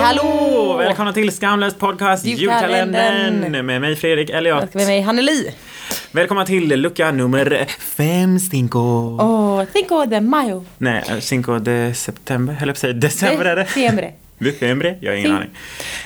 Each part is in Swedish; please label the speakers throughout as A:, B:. A: Hallå! Välkomna till Skamlöst Podcast
B: Julkalendern.
A: Julkalendern med mig Fredrik Elliot.
B: Med mig Hanneli.
A: Välkomna till lucka nummer fem, Stinko.
B: Åh, cinco de mayo.
A: Nej, eh, Cinco de September, höll jag på att säga. December är det.
B: December.
A: December? Jag har ingen
B: Fin-
A: aning.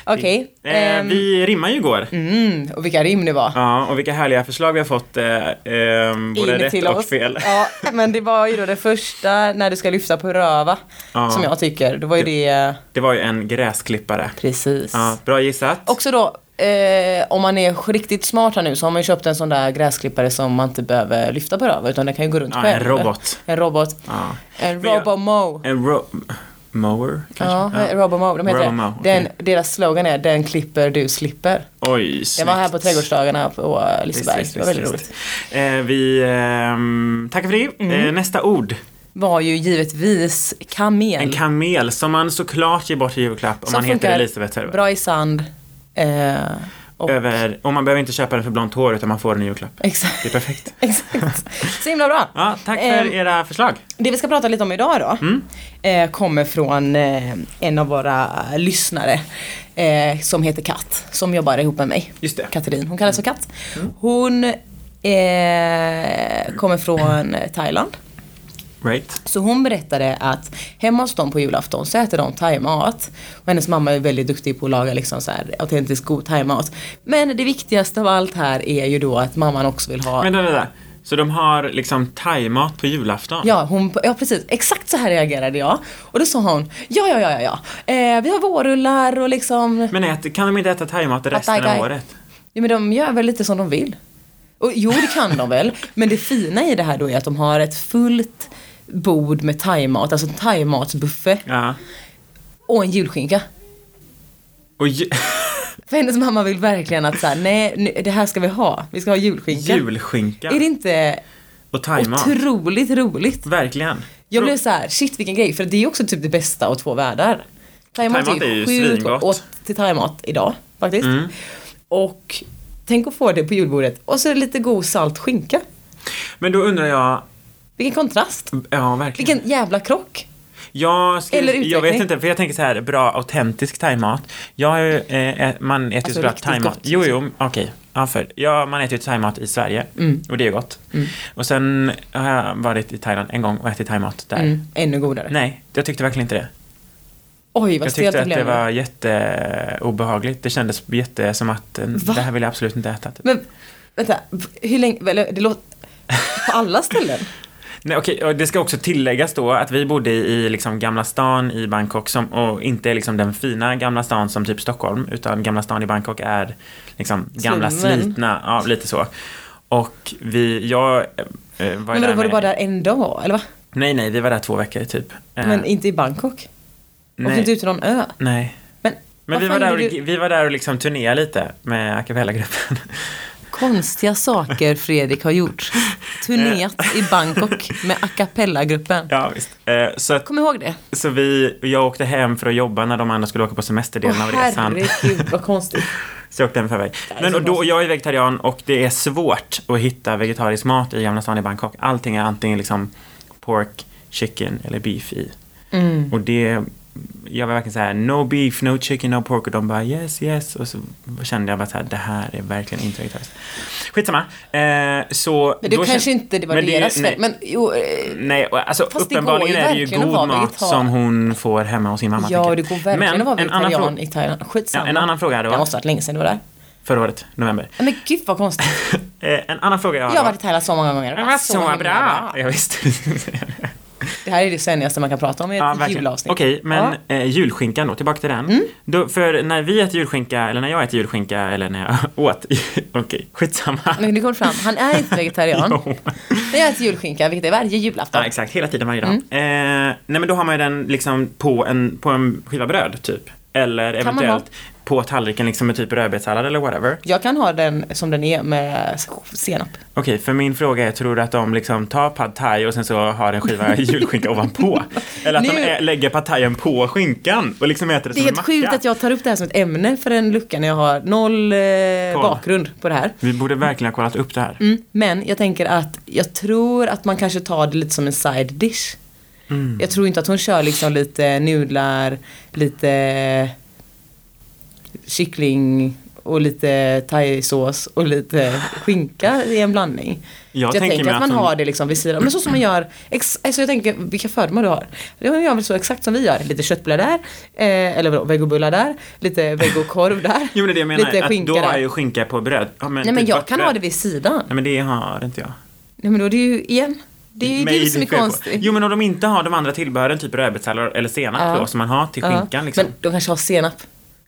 B: Okej.
A: Eh,
B: ehm,
A: vi rimmade ju igår.
B: mm, och vilka rim det var.
A: Ja, och vilka härliga förslag vi har fått. Eh, ehm, både
B: In
A: rätt
B: till
A: och
B: oss.
A: fel.
B: Ja, men det var ju då det första när du ska lyfta på röva.
A: Ja.
B: Som jag tycker. Då var ju det
A: Det var ju en gräsklippare.
B: precis.
A: Ja, bra gissat.
B: Också då, eh, om man är riktigt smart här nu så har man ju köpt en sån där gräsklippare som man inte behöver lyfta på röva utan den kan ju gå runt
A: Ja, en
B: själv.
A: robot.
B: En robot.
A: Ja.
B: En
A: Men jag-
B: robomo.
A: En ro- mower,
B: Ja,
A: kanske? Ja.
B: Robomo, de heter
A: Robomo,
B: det. Den, Deras slogan är Den klipper du slipper.
A: Oj,
B: Jag
A: snyggt.
B: var här på trädgårdsdagarna på eh, Liseberg.
A: Visst,
B: Det var
A: visst,
B: väldigt
A: visst,
B: roligt. Mm.
A: visst. Eh, vi ehm, tackar för det. Eh, nästa ord.
B: Var ju givetvis kamel.
A: En kamel som man såklart ger bort i julklapp om
B: Mm. Som
A: man heter
B: funkar
A: Elisabeth Server.
B: Bra i sand. Eh, och,
A: Över, och man behöver inte köpa den för blont hår utan man får den i julklapp. Det är
B: exakt.
A: perfekt.
B: exakt. Så himla bra.
A: Ja, tack för Mm.
B: Ehm,
A: era förslag.
B: Det vi ska prata lite om idag då eh, kommer från eh, en av våra lyssnare eh, som heter Katt, som jobbar ihop med mig.
A: Just det. Mm.
B: Katrin, hon kallas för Katt. Hon eh, kommer från Thailand.
A: Right.
B: Så hon berättade att hemma hos dem på julafton så äter de thaimat. Och hennes mamma är väldigt duktig på att laga liksom så här autentisk god thaimat. Men det viktigaste av allt här är ju då att mamman också vill ha
A: Men vänta, vänta. Så de har liksom thaimat på julafton?
B: Ja, hon, ja precis, exakt så här reagerade jag. Och då sa hon, ja ja ja ja, ja. Eh, vi har vårrullar och liksom,
A: Men ät, kan de inte äta thaimat resten av
B: thai-guy.
A: året?
B: ja, men de gör väl lite som de vill. Och, jo det kan de väl, men det fina i det här då är att de har ett fullt bord med thaimat, alltså en thaimatsbuffé
A: Ja.
B: och en julskinka.
A: Och ju-
B: För hennes mamma vill verkligen att så här, nej nu, det här ska vi ha, vi ska ha julskinka.
A: julskinka
B: Är det inte
A: och thaimat.
B: otroligt roligt?
A: Verkligen.
B: Jag blev så här, shit vilken grej, för det är också typ det bästa av två världar. Thaimat
A: Thaimat är ju Mm.
B: sjukt
A: svingott.
B: åt till thaimat idag faktiskt. Och tänk att få det på julbordet och så är det lite god salt skinka.
A: Men då undrar jag,
B: Vilken kontrast.
A: ja verkligen.
B: Vilken jävla krock.
A: Jag, skulle-
B: Eller
A: jag vet
B: utveckling.
A: inte, för jag tänker så här, bra autentisk thaimat. Jag har ju, eh, ä- man äter ju
B: Alltså
A: såklart
B: riktigt
A: thaimat.
B: gott. liksom.
A: Jo, jo, okej. Ja, för, ja, man äter ju thaimat i Sverige
B: Mm.
A: och det är gott. Och sen har jag varit i Thailand en gång och ätit thaimat där.
B: Mm, ännu godare.
A: Nej, jag tyckte verkligen inte det.
B: Oj vad
A: Jag tyckte
B: stelt
A: att det
B: blev.
A: var jätteobehagligt. Det kändes jätte som att eh,
B: Va?
A: det här vill jag absolut inte äta. Typ.
B: Men vänta, hur länge, eller det låter, på alla ställen?
A: Nej, okej, och det ska också tilläggas då att vi bodde i liksom Gamla stan i Bangkok som, och inte liksom den fina Gamla stan som typ Stockholm utan Gamla stan i Bangkok är liksom gamla
B: Slummen.
A: slitna, ja lite så. Och vi, jag eh, eh,
B: Men
A: var
B: vadå,
A: ju där
B: var du
A: med,
B: bara där en dag eller va?
A: Nej, nej, vi var där två veckor typ. Eh,
B: Men inte i Bangkok?
A: nej,
B: Åkte inte ut till någon ö?
A: nej.
B: Men,
A: Men
B: vad
A: vi var,
B: fan
A: där och,
B: gjorde du?
A: vi var där och liksom turnerade lite med a cappella-gruppen.
B: Konstiga saker Fredrik har gjort. Turnerat i Bangkok med a cappella-gruppen.
A: ja, visst. Eh, så att,
B: Kom ihåg det.
A: så vi, jag åkte hem för att jobba när de andra skulle åka på semesterdelen av resan.
B: herregud vad konstigt.
A: Så jag åkte hem för mig.
B: är
A: Men
B: så
A: och då,
B: konstigt.
A: jag är vegetarian och det är svårt att hitta vegetarisk mat i Gamla stan i Bangkok. Allting är antingen liksom pork, chicken eller beef i.
B: Mm.
A: Och det, jag var verkligen så här: no beef, no chicken, no pork. Och de bara yes, yes. Och så kände jag bara så här, det här är verkligen inte vegetariskt. Skitsamma. Eh, så
B: Men det
A: då
B: kanske
A: kän-
B: inte det var
A: Men
B: deras
A: nej.
B: fel. Men jo, eh,
A: Nej, och alltså
B: Fast det går
A: uppenbarligen
B: ju
A: är det ju
B: verkligen att
A: god
B: vara
A: mat
B: vegetar.
A: som hon får hemma hos sin mamma. tänker
B: ja
A: jag.
B: det går verkligen att vara
A: en annan
B: vegetarian
A: fråga-
B: i Thailand. Skitsamma.
A: Ja, en annan fråga hade
B: Det
A: varit
B: måste ha varit länge sedan du var där.
A: förra året, november.
B: Nej, Men gud vad konstigt.
A: Eh, en annan fråga jag har
B: Jag har varit i Thailand så många gånger.
A: Det var så
B: himla
A: bra! Jag visste
B: Det här är det sönnigaste man kan prata om i ett
A: ja, verkligen.
B: julavsnitt.
A: Okej, men
B: Ja. Mm.
A: eh, julskinkan då, tillbaka till den. Då, för när vi äter julskinka, eller när jag äter julskinka, eller när jag åt, okej, skitsamma.
B: Men det går fram. Han är inte vegetarian.
A: Jo.
B: Men jag äter julskinka, vilket är varje julafton.
A: Ja, exakt. Hela tiden, varje dag.
B: Mm.
A: Eh, nej, men då har man ju den liksom på en, på en skiva bröd, typ. Eller
B: Kan man ha.
A: eventuellt på tallriken liksom med typ rödbetssallad eller whatever.
B: Jag kan ha den som den är med senap.
A: Okej, för min fråga är, tror du att de liksom tar pad thai och sen så har en skiva julskinka ovanpå? Eller att
B: Nu-
A: de ä- lägger pad thaien på skinkan och liksom äter det,
B: Det är
A: som en
B: helt
A: macka?
B: sjukt att jag tar upp det här som ett ämne för en lucka när jag har noll eh,
A: Koll.
B: bakgrund på det här.
A: Vi borde verkligen ha kollat upp det här.
B: Mm. Men jag tänker att jag tror att man kanske tar det lite som en side dish.
A: Mm.
B: Jag tror inte att hon kör liksom lite nudlar, lite kyckling och lite thaisås och lite skinka i en blandning.
A: Jag
B: Jag, jag
A: tänker
B: tänker,
A: mig
B: att
A: att
B: man
A: de-
B: har det liksom vid sidan Men så som man gör, ex, alltså jag tänker vilka fördomar du har. De gör väl så exakt som vi gör. Lite köttbullar där, eh, eller vadå, vegobullar där, lite vegokorv där.
A: Jo men det är det jag menar,
B: lite
A: att
B: skinka
A: då har
B: där.
A: jag ju skinka på bröd. Ja, men
B: Nej men
A: typ
B: jag
A: vart
B: kan
A: bröd.
B: ha det vid sidan.
A: Nej men det har inte jag.
B: Nej men då är det ju, igen, det är ju
A: Mig
B: du som är
A: fel på.
B: konstig.
A: Jo men om de inte har de andra tillbehören, typ rödbetssallad eller senap
B: Ja.
A: då, som man har till
B: Ja,
A: skinkan liksom.
B: Men de kanske har senap.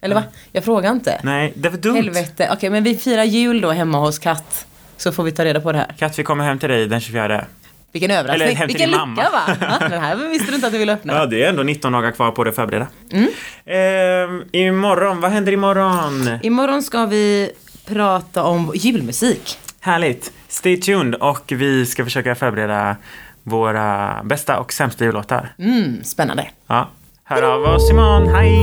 B: Eller va? Jag frågar inte.
A: Nej, det är för dumt.
B: Helvete. Okej men vi firar jul då hemma hos katt. Så får vi ta reda på det här.
A: Katt, vi kommer hem till dig den 24.
B: Vilken överraskning.
A: Eller hem till
B: Vilken
A: din
B: lycka
A: mamma.
B: va? Ja, den här visste du inte att du ville öppna. Mm.
A: Ja, det är ändå 19 dagar kvar på det att förbereda. Ehm, imorgon, vad händer imorgon?
B: Imorgon ska vi prata om julmusik.
A: Härligt. Stay tuned och vi ska försöka förbereda våra bästa och sämsta jullåtar.
B: Mm, spännande.
A: Ja. Hör av oss imorgon, hej!